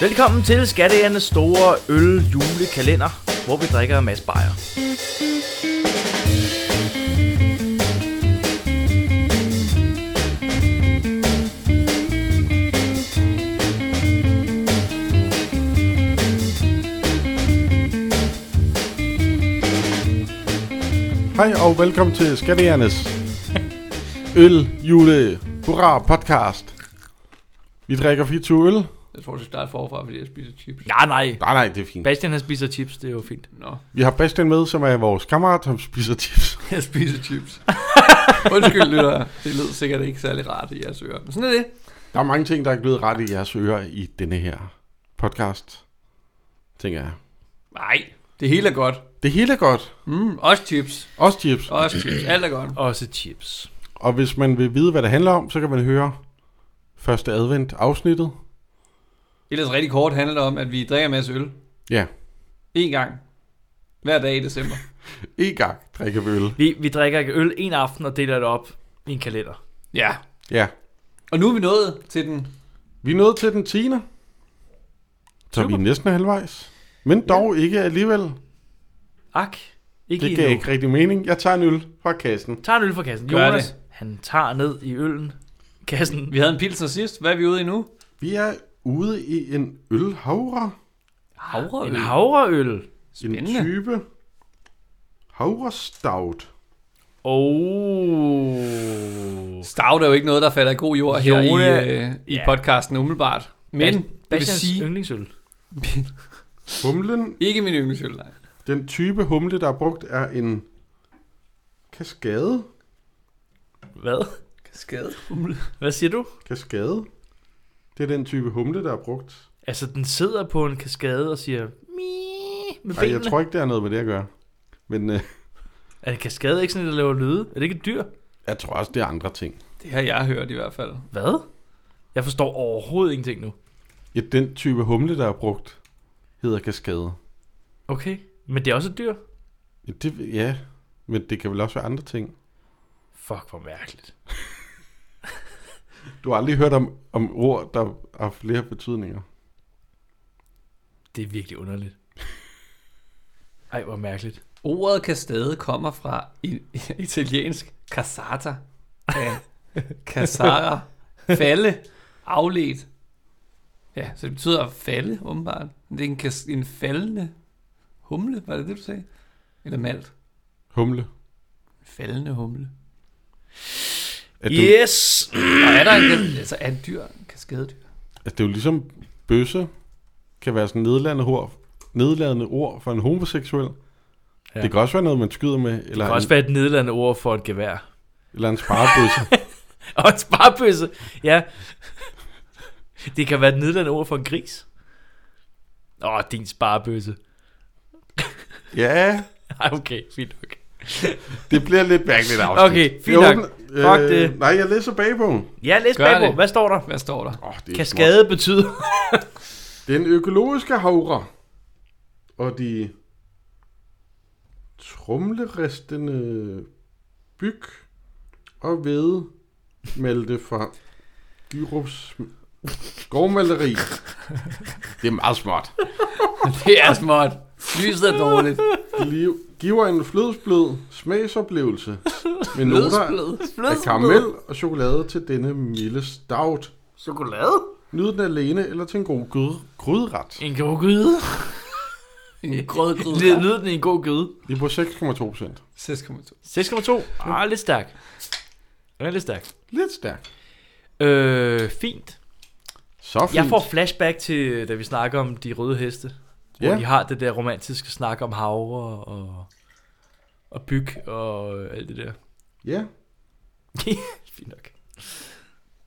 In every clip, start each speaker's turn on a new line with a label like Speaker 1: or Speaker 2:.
Speaker 1: Velkommen til Skatteernes store øl julekalender, hvor vi drikker en masse bajer.
Speaker 2: Hej og velkommen til Skattejernes øl jule hurra podcast. Vi drikker 24 øl.
Speaker 3: Jeg tror, det starter forfra, fordi jeg spiser chips.
Speaker 1: Nej, nej.
Speaker 2: Nej, nej, det er fint.
Speaker 1: Bastian han spiser chips, det er jo fint.
Speaker 3: Nå,
Speaker 2: Vi har Bastian med, som er vores kammerat, som spiser chips.
Speaker 3: jeg spiser chips. Undskyld, lytter. Det lød sikkert ikke særlig rart i jeres ører. Men sådan er det.
Speaker 2: Der er mange ting, der er blevet ret i jeres ører i denne her podcast, tænker jeg.
Speaker 3: Nej, det hele er godt.
Speaker 2: Det hele er godt.
Speaker 3: Mm, også chips.
Speaker 2: Også chips.
Speaker 3: Også chips. Alt er godt.
Speaker 1: Også chips.
Speaker 2: Og hvis man vil vide, hvad det handler om, så kan man høre første advent afsnittet.
Speaker 3: Ellers rigtig kort handler det om, at vi drikker en masse øl.
Speaker 2: Ja,
Speaker 3: En gang. Hver dag i december.
Speaker 2: en gang drikker vi øl.
Speaker 1: Vi, vi drikker ikke øl en aften og deler det op i en kalender.
Speaker 3: Ja.
Speaker 2: Ja,
Speaker 3: Og nu er vi nået til den.
Speaker 2: Vi er nået til den 10. Så vi er
Speaker 1: Super.
Speaker 2: næsten halvvejs. Men dog ikke alligevel.
Speaker 1: Ak, ikke
Speaker 2: Det
Speaker 1: lige
Speaker 2: gav
Speaker 1: nu.
Speaker 2: ikke rigtig mening. Jeg tager en øl fra kassen.
Speaker 1: Tag en øl fra kassen.
Speaker 3: Gør
Speaker 1: Jonas,
Speaker 3: det.
Speaker 1: han tager ned i øllen. Kassen.
Speaker 3: Vi havde en pilsner sidst. Hvad er vi ude i nu?
Speaker 2: Vi er ude i en ølhavre.
Speaker 3: Havreøl.
Speaker 1: En havreøl.
Speaker 2: En
Speaker 3: Spændende.
Speaker 2: type havrestaut.
Speaker 1: Oh.
Speaker 3: Stout er jo ikke noget, der falder i god jord her
Speaker 1: Jo,
Speaker 3: i,
Speaker 1: ja.
Speaker 3: øh, i
Speaker 1: Ja.
Speaker 3: podcasten umiddelbart. Men det vil
Speaker 1: Bastians
Speaker 3: sige,
Speaker 1: yndlingsøl.
Speaker 2: Humlen,
Speaker 3: ikke min yndlingsøl. nej.
Speaker 2: den type humle, der er brugt, er en kaskade.
Speaker 1: Hvad?
Speaker 3: Skadehumle.
Speaker 1: Hvad siger du?
Speaker 2: Kaskade. Det er den type humle, der er brugt.
Speaker 1: Altså, den sidder på en kaskade og siger... "Mii" Med
Speaker 2: Ej,
Speaker 1: benene.
Speaker 2: jeg tror ikke, det har noget med det at gøre. Men øh,
Speaker 1: Er en kaskade ikke sådan, der laver lyde? Er det ikke et dyr?
Speaker 2: jeg tror også, det er andre ting.
Speaker 3: Det har jeg hørt i hvert fald.
Speaker 1: Hvad? Jeg forstår overhovedet ingenting nu.
Speaker 2: Ja, den type humle, der er brugt, hedder kaskade.
Speaker 1: Okay. Men det er også et dyr?
Speaker 2: Ja, Det, ja, men det kan vel også være andre ting.
Speaker 1: Fuck, hvor mærkeligt.
Speaker 2: Du har aldrig hørt om, om ord, der har flere betydninger.
Speaker 1: Det er virkelig underligt. Ej, hvor mærkeligt.
Speaker 3: Ordet kastade kommer fra i, italiensk casata. Ja. Casara. Falde. Afledt. Ja, så det betyder at falde, åbenbart. Det er en, kas, en faldende humle, var det det, du sagde? Eller malt.
Speaker 2: Humle.
Speaker 3: Faldende humle.
Speaker 2: At du, yeah.
Speaker 1: Yes!
Speaker 3: Og er der en, altså er en dyr kaskadedyr?
Speaker 2: at det er jo ligesom bøsse kan være sådan et nedladende ord, nedladende ord for en homoseksuel.
Speaker 1: Ja.
Speaker 2: Ja. Det kan også være noget, man skyder med,
Speaker 1: Det
Speaker 2: eller,
Speaker 1: kan også
Speaker 2: en,
Speaker 1: være et nedladende ord for et gevær.
Speaker 2: eller en sparebøsse.
Speaker 1: Og en sparebøsse. Ja. Det kan være et nedladende ord for en gris. Åh, din sparebøsse.
Speaker 2: ja,
Speaker 1: Ej, okay, fint nok.
Speaker 2: det bliver lidt mærkeligt afsnit.
Speaker 1: Okay,
Speaker 2: Jeg
Speaker 1: fint nok.
Speaker 2: åbner-
Speaker 1: Fuck det.
Speaker 2: Nej, jeg læser bagpå. Åh,
Speaker 1: Ja, læs
Speaker 3: Gør
Speaker 1: bagpå.
Speaker 3: det.
Speaker 1: Hvad står der?
Speaker 3: Hvad står der?
Speaker 2: Oh, det er
Speaker 1: Kaskade betyder...
Speaker 2: Den økologiske havre og de trumleristende byg og ved meldte fra Gyrups skovmaleri. Det er meget smart.
Speaker 3: Det er småt. Lyset er dårligt.
Speaker 2: Liv giver en flødsblød smagsoplevelse med noter
Speaker 3: Blødsblød.
Speaker 2: af karamel og chokolade til denne milde stout.
Speaker 1: Chokolade?
Speaker 2: Nyd den alene eller til en god gryde- gryderet.
Speaker 1: En god gyde.
Speaker 3: En grød, grød.
Speaker 1: Det lyder den i en god gyde.
Speaker 2: Det er på 6,2 procent.
Speaker 3: 6,2.
Speaker 1: 6,2. Ah, lidt stærk. Den er lidt stærk.
Speaker 2: Lidt stærkt.
Speaker 1: Øh, fint.
Speaker 2: Så fint.
Speaker 1: Jeg får flashback til, da vi snakker om de røde heste. Hvor
Speaker 2: Ja.
Speaker 1: de har det der romantiske snak om havre og, og byg og øh, alt det der.
Speaker 2: Ja,
Speaker 1: Fint nok.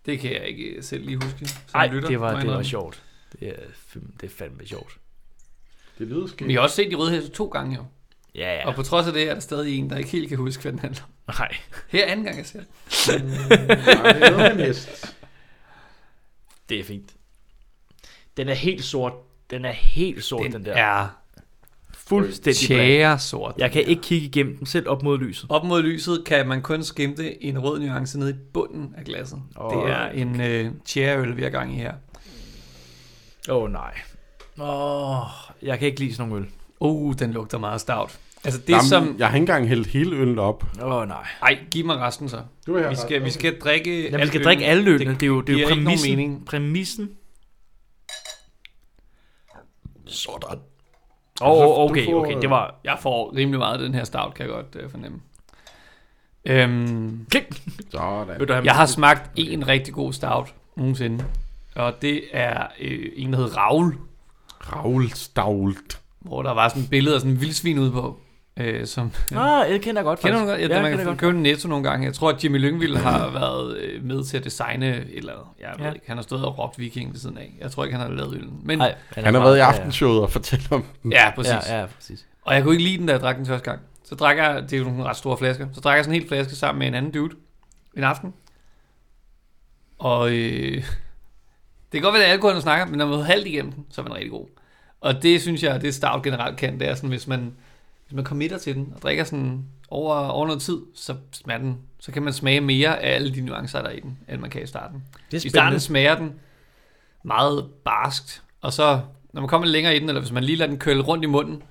Speaker 3: Det kan jeg ikke øh, selv lige huske. som
Speaker 1: Nej,
Speaker 3: lytter,
Speaker 1: det
Speaker 3: må
Speaker 1: var,
Speaker 3: jeg
Speaker 1: det var
Speaker 3: indrømme.
Speaker 1: sjovt. Det er, fem- det er fandme sjovt.
Speaker 2: det lyder skægt.
Speaker 3: Vi har også set de røde heste to gange jo.
Speaker 1: Ja, ja.
Speaker 3: Og på trods af det er der stadig en, der ikke helt kan huske, hvad den handler om.
Speaker 1: Nej.
Speaker 3: Her er anden gang, jeg ser den.
Speaker 2: Nej, det er noget med en hest.
Speaker 1: Det er fint. Den er helt sort. Den er helt sort, den, den der.
Speaker 3: er
Speaker 1: fuldstændig blank.
Speaker 3: tjæresort.
Speaker 1: Jeg kan ikke kigge igennem den selv op mod lyset.
Speaker 3: Op mod lyset kan man kun skimte en rød nuance nede i bunden af glasset.
Speaker 1: Åh.
Speaker 3: Oh. Det er en øh, tjæreøl, vi har gang i her.
Speaker 1: Åh, oh, nej. Åh, oh, jeg kan ikke lide sådan nogle øl.
Speaker 3: Uh, den lugter meget stavt. Altså det
Speaker 2: Det Jamen,
Speaker 3: som...
Speaker 2: som... Jeg har ikke engang hældt hele øllet op.
Speaker 1: Åh, oh, nej.
Speaker 3: Ej, giv mig resten så.
Speaker 2: Du er
Speaker 3: Vi skal, vi skal drikke...
Speaker 1: Ja, vi
Speaker 3: alt
Speaker 1: skal drikke
Speaker 3: øllen.
Speaker 1: alle ølene. Det, det er jo, det er jo
Speaker 3: giver ikke nogen
Speaker 1: præmissen.
Speaker 3: mening.
Speaker 1: Præmissen.
Speaker 3: Sådan.
Speaker 1: Åh, oh,
Speaker 2: du
Speaker 1: okay,
Speaker 2: får,
Speaker 1: okay. Det var...
Speaker 3: Jeg får rimelig meget af den her stout, kan jeg godt øh, fornemme. Øhm,
Speaker 2: Sådan.
Speaker 1: Vil du have
Speaker 3: jeg har smagt en rigtig god stout nogensinde. Og det er øh, en, der hedder Ravl,
Speaker 2: Ravlstavlt.
Speaker 3: hvor der var sådan et billede af sådan en vildsvin ude på. Øh, som,
Speaker 1: Ah, jeg kender jeg godt,
Speaker 3: Kender du
Speaker 1: faktisk.
Speaker 3: godt? Ja,
Speaker 1: jeg
Speaker 3: ja, man
Speaker 1: kender
Speaker 3: kan
Speaker 1: godt.
Speaker 3: købe den i netto nogle gange. Jeg tror, at Jimmy Lyngvild har været øh, med til at designe et eller andet. Jeg ved
Speaker 1: Ja.
Speaker 3: ja. ikke, han har stået og råbt viking ved siden af. Jeg tror ikke, han har lavet øllen. Men,
Speaker 1: Nej,
Speaker 2: Han har været i aftenshowet og fortalt om den.
Speaker 3: ja, præcis.
Speaker 1: Ja, ja, præcis.
Speaker 3: Og jeg kunne ikke lide den, da jeg drak den første gang. Så drak jeg, det er jo nogle ret store flasker, så drak jeg sådan en hel flaske sammen med en anden dude en aften. Og øh, det kan godt være, at alkoholen snakker, men når man er halvt igennem den, så er man rigtig god. Og det synes jeg, det stout generelt kan, det er sådan, hvis man, hvis man committer til den og drikker sådan over, over noget tid, så, smager den, så kan man smage mere af alle de nuancer, der er i den, end man kan i starten.
Speaker 1: Det
Speaker 3: I starten smager den meget barskt, og så når man kommer lidt længere i den, eller hvis man lige lader den køle rundt i munden,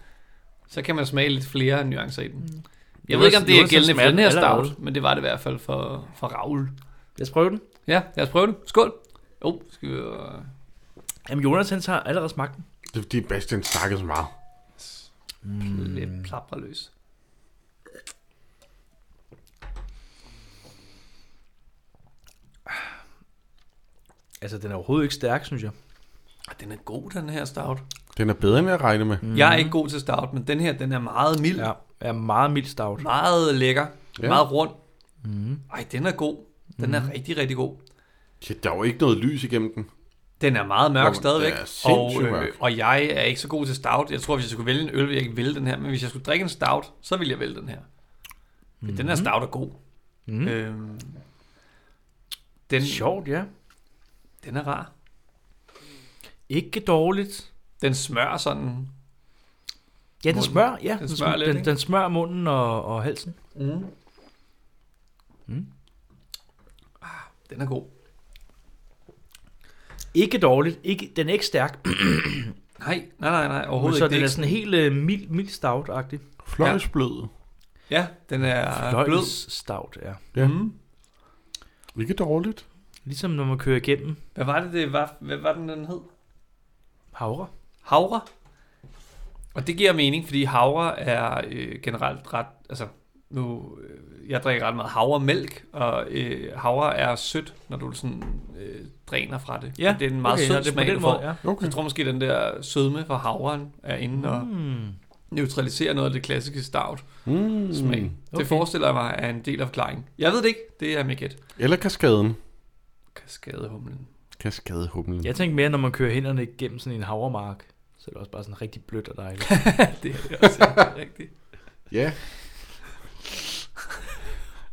Speaker 3: så kan man smage lidt flere nuancer i den. Jeg
Speaker 1: Jonas-
Speaker 3: ved ikke, om det er
Speaker 1: Jonas
Speaker 3: gældende for
Speaker 1: smager
Speaker 3: den her
Speaker 1: den allerede.
Speaker 3: stout, men det var det i hvert fald for, for Ravl.
Speaker 1: Lad os prøve den.
Speaker 3: Ja, lad os prøve det. Skål. Jo, oh, skal vi... øh,
Speaker 1: Jamen, Jonas, han har allerede smagt den.
Speaker 2: Det er fordi Bastian snakkede så meget.
Speaker 3: lidt plapre løs.
Speaker 1: Altså, den er overhovedet ikke stærk, synes jeg.
Speaker 3: Ah, Den er god, den her stout.
Speaker 2: Den er bedre, end jeg regnede med.
Speaker 3: Mm. Jeg er ikke god til stout, men den her, den er meget mild. Ja.
Speaker 1: Ja, er meget mild stout.
Speaker 3: Meget lækker.
Speaker 2: Ja.
Speaker 3: Ja. Meget rund. Mm. Ej, den er god. Den er rigtig, rigtig god.
Speaker 2: Ja, der var ikke noget lys igennem den.
Speaker 3: Den er meget
Speaker 2: Nå,
Speaker 3: mørk
Speaker 2: men
Speaker 3: stadigvæk,
Speaker 2: den er sindssygt
Speaker 3: og, øh,
Speaker 2: mørk.
Speaker 3: og jeg er ikke så god til stout. Jeg tror, hvis jeg skulle vælge en øl, ville jeg ikke vælge den her, men hvis jeg skulle drikke en stout, så ville jeg vælge den her. Mm-hmm. Den her stout er god. Mm-hmm. Øhm, den,
Speaker 1: Sjovt, ja.
Speaker 3: den er rar.
Speaker 1: Ikke dårligt.
Speaker 3: Den smører sådan.
Speaker 1: Ja, den
Speaker 3: Munden.
Speaker 1: smører, ja.
Speaker 3: Den smører lidt,
Speaker 1: den,
Speaker 3: ikke?
Speaker 1: den smører munden og, og halsen.
Speaker 3: Mm. Mm. Mhm. Ah, den er god.
Speaker 1: Ikke dårligt. Ikke, den er ikke stærk,
Speaker 3: Nej, nej, nej, nej
Speaker 1: men
Speaker 3: overhovedet
Speaker 1: så
Speaker 3: ikke.
Speaker 1: den er
Speaker 3: Det er ikke.
Speaker 1: sådan helt øh, mild, mild stout-agtig.
Speaker 2: Fløjsblød.
Speaker 3: Ja, den er blød.
Speaker 1: Fløjens stout, ja.
Speaker 2: Ja.
Speaker 3: Mm.
Speaker 2: Ikke dårligt.
Speaker 1: Ligesom når man kører igennem
Speaker 3: Hvad var det, det var? Hvad var den, den hed?
Speaker 1: havre.
Speaker 3: havre. Og det giver mening, fordi havre er øh, generelt ret, altså nu, øh, jeg drikker ret meget havremælk, og øh, havre er sødt, når du sådan øh, dræner fra det. Så det er en meget okay, sød
Speaker 1: ja, det er på
Speaker 3: smag,
Speaker 1: den
Speaker 3: du
Speaker 1: måde,
Speaker 3: får.
Speaker 1: ja.
Speaker 2: Okay.
Speaker 3: Jeg tror måske, den der sødme fra havren er inde og
Speaker 1: Mm.
Speaker 3: neutraliserer noget af det klassiske stout
Speaker 2: Mm.
Speaker 3: smag.
Speaker 1: okay.
Speaker 3: Det forestiller jeg mig er en del af forklaringen. Jeg ved det ikke, det er mit gæt.
Speaker 2: Eller kaskaden.
Speaker 3: Kaskadehumlen.
Speaker 2: Kaskadehumlen.
Speaker 1: Jeg tænkte mere, når man kører hænderne igennem sådan en havremark, så er det også bare sådan rigtig blødt og dejligt.
Speaker 3: Det er også rigtigt.
Speaker 2: Ja.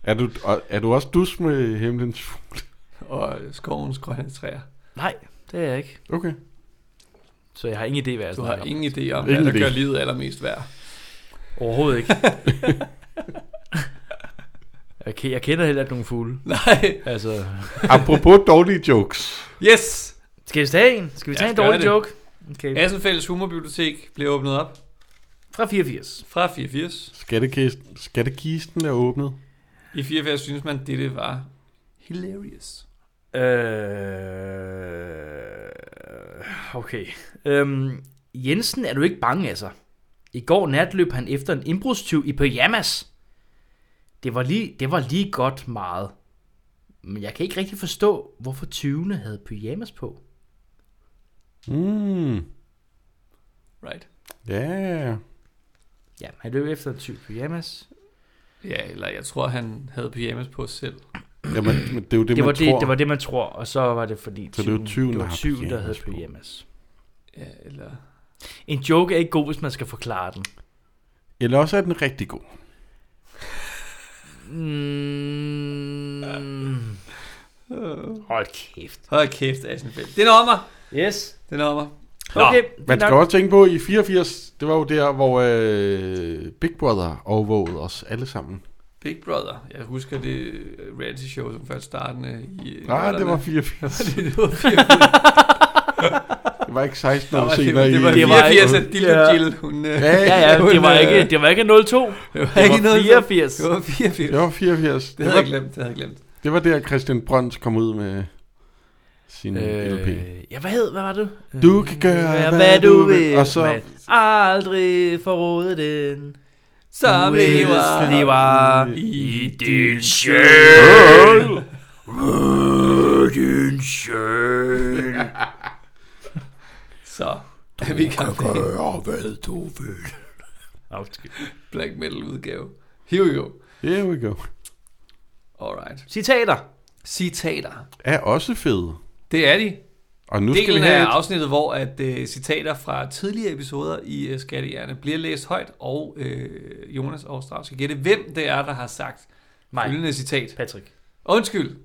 Speaker 2: Er du, og- er du også dus med himlens fugle?
Speaker 3: Og øh, skovens grønne træer.
Speaker 1: Nej, det er jeg ikke.
Speaker 2: Okay.
Speaker 1: Så jeg har ingen idé, hvad jeg
Speaker 3: Du har
Speaker 1: snakker om.
Speaker 3: ingen idé om,
Speaker 2: Ingen
Speaker 3: hvad der
Speaker 2: idé.
Speaker 3: gør livet allermest værd.
Speaker 1: Overhovedet ikke. jeg, ke- jeg kender heller ikke nogen fugle.
Speaker 3: Nej.
Speaker 1: Altså,
Speaker 2: Apropos dårlige jokes.
Speaker 3: Yes!
Speaker 1: skal vi tage en? Skal vi
Speaker 3: Ja,
Speaker 1: tage en
Speaker 3: gør
Speaker 1: dårlig
Speaker 3: det.
Speaker 1: joke? Okay.
Speaker 3: Assenfælles Humorbibliotek bliver åbnet op
Speaker 1: Fra 84.
Speaker 3: fra 84.
Speaker 2: Skattekisten, skattekisten er åbnet.
Speaker 3: I 84 synes man, dette var hilarious.
Speaker 1: Øh, okay. Øhm, Jensen er du ikke bange af sig. I går nat løb han efter en indbrudstyv i pyjamas. Det var, lige, det var lige godt meget. Men jeg kan ikke rigtig forstå, hvorfor tyvene havde pyjamas på.
Speaker 2: Mm.
Speaker 3: Right?
Speaker 2: Ja.
Speaker 1: Ja, han løb efter en tyv i pyjamas.
Speaker 3: Ja, eller jeg tror, han havde pyjamas på selv.
Speaker 2: Jamen, men det er jo det,
Speaker 1: Det var
Speaker 2: man
Speaker 1: det,
Speaker 2: tror.
Speaker 1: det var det, man tror, og så var det fordi
Speaker 2: Så det var tyven,
Speaker 1: det
Speaker 2: der
Speaker 1: var
Speaker 2: har
Speaker 1: tyven der havde
Speaker 2: pyjamas på.
Speaker 1: pyjamas.
Speaker 3: Ja, eller...
Speaker 1: En joke er ikke god, hvis man skal forklare den.
Speaker 2: Eller også er den rigtig god.
Speaker 1: Mm. Hold kæft.
Speaker 3: Hold kæft, Assenfælles. Det når mig.
Speaker 1: Yes.
Speaker 3: Det når mig.
Speaker 1: Okay,
Speaker 2: Man
Speaker 1: det er
Speaker 2: skal
Speaker 1: nok.
Speaker 2: også tænke på, i 84, det var jo der, hvor øh, Big Brother overvågede os alle sammen.
Speaker 3: Big Brother. Jeg husker det øh, reality show, øh, som først startede i...
Speaker 2: Nej, det var
Speaker 3: Det
Speaker 2: 84.
Speaker 3: var 84.
Speaker 2: det var ikke 16
Speaker 3: Nå,
Speaker 2: år
Speaker 3: det,
Speaker 2: senere.
Speaker 3: det var
Speaker 2: i-
Speaker 1: det var
Speaker 3: 84,
Speaker 2: ikke-
Speaker 3: at Dildo
Speaker 1: Ja.
Speaker 3: Jill, hun... øh,
Speaker 2: Ja,
Speaker 1: Ja, ja, det var
Speaker 3: øh,
Speaker 1: ikke, det var ikke 02.
Speaker 3: var
Speaker 1: Det
Speaker 3: ikke
Speaker 1: var
Speaker 3: noget-
Speaker 1: 84.
Speaker 3: Det var 84.
Speaker 2: Det var 84.
Speaker 3: Det
Speaker 2: Det
Speaker 3: havde jeg
Speaker 2: var,
Speaker 3: glemt, det havde jeg glemt.
Speaker 2: det var der, Christian Brøns kom ud med sin LP.
Speaker 1: Øh, ja, hvad hed, hvad var det?
Speaker 2: Du kan gøre,
Speaker 1: Hvad,
Speaker 2: hvad
Speaker 1: hvad du
Speaker 2: du vil.
Speaker 1: vil,
Speaker 2: Og så-
Speaker 1: men aldrig forråde den.
Speaker 3: Som lever
Speaker 1: det var
Speaker 3: i
Speaker 1: din sjæl. din sjæl.
Speaker 3: Så er vi i gang med
Speaker 2: Gør, hvad du vil.
Speaker 3: Black Metal udgave. Here we go.
Speaker 2: Here we go.
Speaker 3: Alright.
Speaker 1: Citater.
Speaker 3: Citater.
Speaker 2: Er også fed.
Speaker 3: Det er de.
Speaker 2: Og nu skal vi
Speaker 3: Delen
Speaker 2: have
Speaker 3: af
Speaker 2: et...
Speaker 3: afsnittet, hvor at øh, citater fra tidligere episoder i øh, Skattehjerne bliver læst højt, og øh, Jonas og Strauss skal gætte, hvem det er, der har sagt
Speaker 1: Nej.
Speaker 3: følgende citat.
Speaker 1: Patrick.
Speaker 3: Undskyld,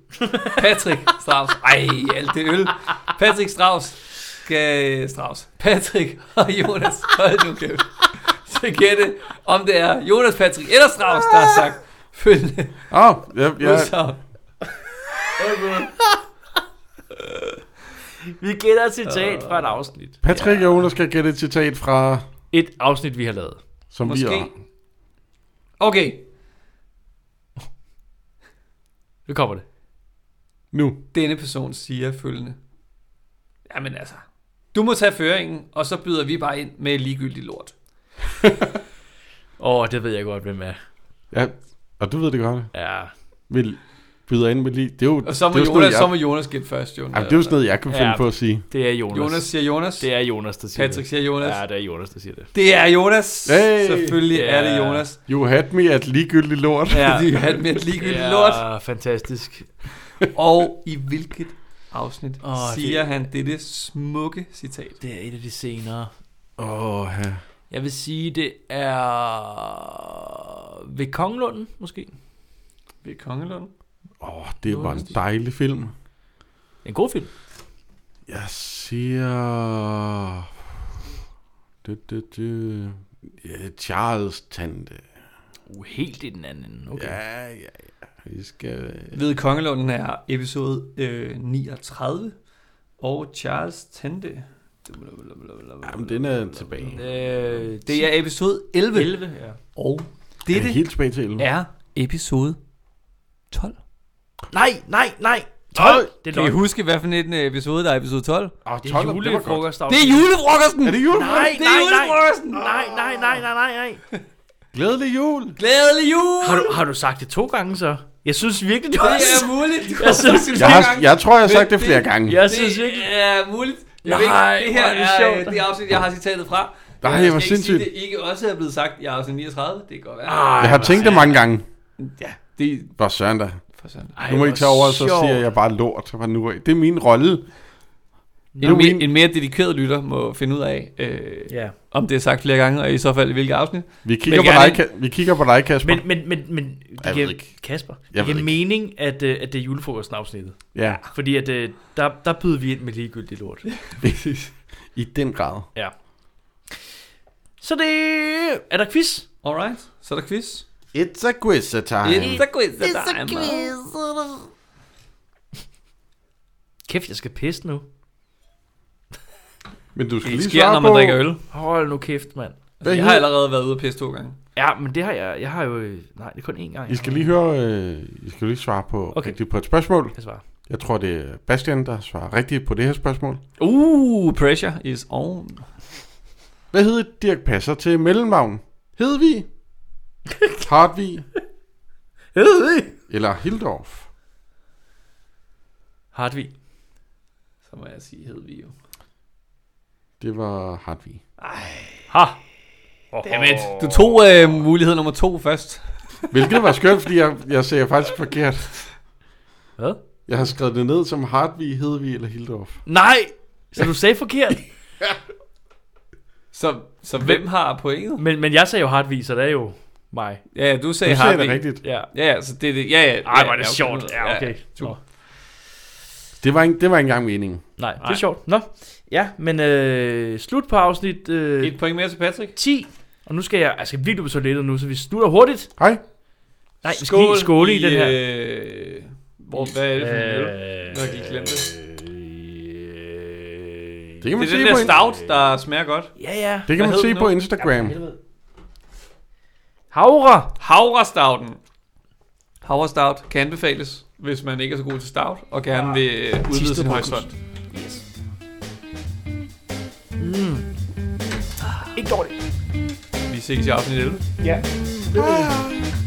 Speaker 3: Patrick Strauss. Ej, alt det øl. Patrick Strauss skal... Strauss. Patrick og Jonas, hold nu kæft. Så gætte, om det er Jonas, Patrick eller Strauss, der har sagt følgende
Speaker 2: Åh, oh, ja, ja.
Speaker 3: udsagn.
Speaker 1: Vi gætter et citat fra et afsnit.
Speaker 2: Patrick og Jonas skal gætte et citat fra,
Speaker 1: Et afsnit, vi har lavet.
Speaker 2: som vi
Speaker 3: Måske.
Speaker 2: har.
Speaker 3: Okay,
Speaker 1: Nu kommer det.
Speaker 2: Nu.
Speaker 3: denne person siger følgende. Jamen altså, du må tage føringen, og så byder vi bare ind med ligegyldig lort.
Speaker 1: Åh, oh, det ved jeg godt, hvem er.
Speaker 2: Ja, og du ved det godt.
Speaker 1: Ja.
Speaker 2: Vi byder ind med lige... Det er jo,
Speaker 3: Og så må,
Speaker 2: det er jo sådan
Speaker 3: Jonas,
Speaker 2: noget,
Speaker 3: så
Speaker 2: jeg,
Speaker 3: må Jonas gætte først, Jonas.
Speaker 2: jamen, det er jo sådan noget, jeg kan finde
Speaker 1: Ja.
Speaker 2: på at sige.
Speaker 1: Det er Jonas.
Speaker 3: Jonas siger Jonas.
Speaker 1: Det er Jonas, der siger
Speaker 3: Patrick
Speaker 1: det.
Speaker 3: siger Jonas.
Speaker 1: Ja, det er Jonas, der siger det.
Speaker 3: Det er Jonas.
Speaker 2: Hey!
Speaker 3: Selvfølgelig
Speaker 1: Ja.
Speaker 3: er det Jonas.
Speaker 2: You had me at ligegyldig lort.
Speaker 1: Ja.
Speaker 3: Fordi han med et ligegyldigt lort.
Speaker 1: fantastisk.
Speaker 3: Og i hvilket afsnit
Speaker 1: Åh,
Speaker 3: oh,
Speaker 1: det-
Speaker 3: siger det... han dette smukke citat?
Speaker 1: Det er et af de senere.
Speaker 2: Åh, ja.
Speaker 1: Jeg vil sige, det er ved Kongelunden, måske.
Speaker 3: Ved Kongelunden.
Speaker 2: Åh, det var en dejlig film.
Speaker 1: En god film.
Speaker 2: Jeg siger... Det, det, det... Ja, Charles tante.
Speaker 1: Uh, helt i den anden ende. Okay. Ja.
Speaker 2: Ja, ja, ja. Vi skal...
Speaker 3: Ved Kongelunden er episode øh, 39. Og Charles Tente.
Speaker 2: Jamen, den er tilbage.
Speaker 1: Øh,
Speaker 3: Det er episode 11.
Speaker 1: 11, ja.
Speaker 3: Og
Speaker 2: Den er
Speaker 3: dette
Speaker 2: helt tilbage til 11.
Speaker 3: er episode 12.
Speaker 1: Nej, nej, nej.
Speaker 2: 12!
Speaker 1: Det er
Speaker 3: Kan I
Speaker 1: løgn.
Speaker 3: huske, hvad for en øh, episode der er episode 12?
Speaker 2: Åh, 12,
Speaker 1: Det
Speaker 2: det
Speaker 1: er
Speaker 2: var godt.
Speaker 1: julefrokost.
Speaker 3: Det er julefrokosten!
Speaker 2: Er det jul?
Speaker 1: Nej, nej,
Speaker 3: Det er
Speaker 1: nej.
Speaker 3: julefrokosten!
Speaker 1: Nej, nej, nej, nej, nej, nej.
Speaker 2: Glædelig jul!
Speaker 3: Glædelig jul!
Speaker 1: Har du, har du sagt det to gange så? Jeg synes virkelig, du
Speaker 3: Det
Speaker 1: har
Speaker 3: er
Speaker 1: sagt-
Speaker 3: muligt. Du
Speaker 1: Jeg synes-
Speaker 3: sagt det
Speaker 2: Jeg,
Speaker 3: flere
Speaker 2: har,
Speaker 3: gange.
Speaker 2: jeg tror, jeg har sagt det
Speaker 3: Men
Speaker 2: flere
Speaker 3: det-
Speaker 2: gange.
Speaker 1: Jeg synes
Speaker 3: Det
Speaker 1: virkelig...
Speaker 3: er muligt. Jeg ved
Speaker 1: Nej,
Speaker 3: ikke, det her
Speaker 1: hvor er det
Speaker 3: er,
Speaker 1: sjovt.
Speaker 3: øh, det afsnit, jeg har citatet fra.
Speaker 2: Nej,
Speaker 3: jeg skal
Speaker 2: hvor
Speaker 3: ikke sige,
Speaker 2: sindssygt.
Speaker 3: det ikke også er blevet sagt i afsnit 39. Det kan godt være.
Speaker 1: Ej,
Speaker 2: Jeg har
Speaker 1: hvor
Speaker 2: tænkt det mange gange.
Speaker 3: Ja, det er
Speaker 2: Hvor søren da.
Speaker 3: for sådan.
Speaker 1: Ej,
Speaker 2: Nu må I
Speaker 1: hvor
Speaker 2: tage over, og så
Speaker 1: sjovt.
Speaker 2: siger jeg bare lort. Fra nu af. Det er min rolle.
Speaker 3: En, mere,
Speaker 2: min-
Speaker 3: en mere dedikeret lytter må finde ud af, øh,
Speaker 1: Ja.
Speaker 3: om det er sagt flere gange, og i så fald i hvilke afsnit.
Speaker 2: Vi kigger,
Speaker 3: Men
Speaker 2: på dig,
Speaker 3: gerne-
Speaker 2: Ka- vi kigger på dig, Kasper.
Speaker 1: Men, men, men, men det
Speaker 2: Jeg ved
Speaker 1: giver,
Speaker 2: ikke.
Speaker 1: Kasper,
Speaker 2: ved
Speaker 1: det giver
Speaker 2: ikke.
Speaker 1: mening, at, øh, at det er julefrokosten afsnittet.
Speaker 2: Ja,
Speaker 1: Fordi at, øh, der, der byder vi ind med ligegyldigt lort.
Speaker 2: i den grad.
Speaker 1: Ja. Så det... Er der quiz?
Speaker 3: Alright, så er der quiz.
Speaker 2: It's a quiz time.
Speaker 3: It's a quiz. It's a quiz.
Speaker 1: Kæft, jeg skal pisse nu.
Speaker 2: Men du skal
Speaker 3: Det
Speaker 2: lige
Speaker 3: sker,
Speaker 2: svare
Speaker 3: når man
Speaker 2: på,
Speaker 3: drikker øl.
Speaker 1: Hold nu kæft, mand.
Speaker 2: Hvad
Speaker 3: Jeg har
Speaker 2: hedder-
Speaker 3: allerede været ude og pisse to gange.
Speaker 1: Ja, men det har jeg... Jeg har jo... øh, Nej, det er kun én gang.
Speaker 2: I skal lige høre, øh, I skal lige svare på
Speaker 1: Okay.
Speaker 2: okay. rigtigt på et spørgsmål.
Speaker 1: Jeg svarer.
Speaker 2: Jeg tror, det er Bastian, der svarer rigtigt på det her spørgsmål.
Speaker 3: Uh, pressure is on.
Speaker 2: Hvad hed Dirk Passer til mellemnavn? Hedvig? Hartvig? Eller Hildorf?
Speaker 1: Hartvig.
Speaker 3: Så må jeg sige, hed vi jo.
Speaker 2: Det var Hartvig.
Speaker 1: Ha!
Speaker 3: Dammit. Du tog øh, mulighed nummer to først.
Speaker 2: Hvilket var skønt, fordi jeg, jeg sagde faktisk forkert.
Speaker 1: Hvad?
Speaker 2: Jeg har skrevet det ned som Hartvig, Hedvig eller Hildorf.
Speaker 1: Nej! Så du sagde forkert.
Speaker 3: Så, så hvem har pointet?
Speaker 1: Men, men jeg sagde jo Hartvig, så det er jo mig.
Speaker 3: Ja, ja, du sagde
Speaker 2: Du sagde det
Speaker 3: Hartvig.
Speaker 2: rigtigt.
Speaker 1: Ja.
Speaker 3: Ja, ja, så det er det. Ja, ja.
Speaker 1: Ej, hvor er det
Speaker 3: ja, okay,
Speaker 1: sjovt.
Speaker 3: nu-
Speaker 1: Ja, okay. Nå.
Speaker 2: Det var, ikke, det var ikke engang meningen.
Speaker 1: Nej, det er
Speaker 3: Nej.
Speaker 1: sjovt. Nå, ja, men øh, slut på afsnit øh,
Speaker 3: Et point mere til Patrick.
Speaker 1: 10. Og nu skal jeg, altså jeg skal virkelig på toilettet nu, så vi slutter hurtigt.
Speaker 2: Hej.
Speaker 1: Nej, vi skal lige skåle i, den her. Øh,
Speaker 3: Øh, hvor, hvad er det for en øl? Nå, jeg gik glemt det.
Speaker 1: Øh,
Speaker 2: Det kan man
Speaker 3: Det er
Speaker 2: se
Speaker 3: den
Speaker 2: på
Speaker 3: der
Speaker 2: in-
Speaker 3: stout, der smager godt.
Speaker 1: Ja, ja.
Speaker 2: Det
Speaker 3: Hvad
Speaker 2: kan man
Speaker 3: hed
Speaker 2: se
Speaker 3: den
Speaker 2: på
Speaker 3: nu?
Speaker 2: Instagram.
Speaker 1: Havre.
Speaker 3: Havrestouten. Havrestout kan anbefales, hvis man ikke er så god til stout, og gerne
Speaker 2: Ah,
Speaker 3: ja. vil øh, udvide sin
Speaker 1: Thisted Hokus.
Speaker 3: horisont.
Speaker 1: Yes. Mm. Ah, ikke dårligt.
Speaker 3: Vi ses i afsnit 11.
Speaker 1: Ja.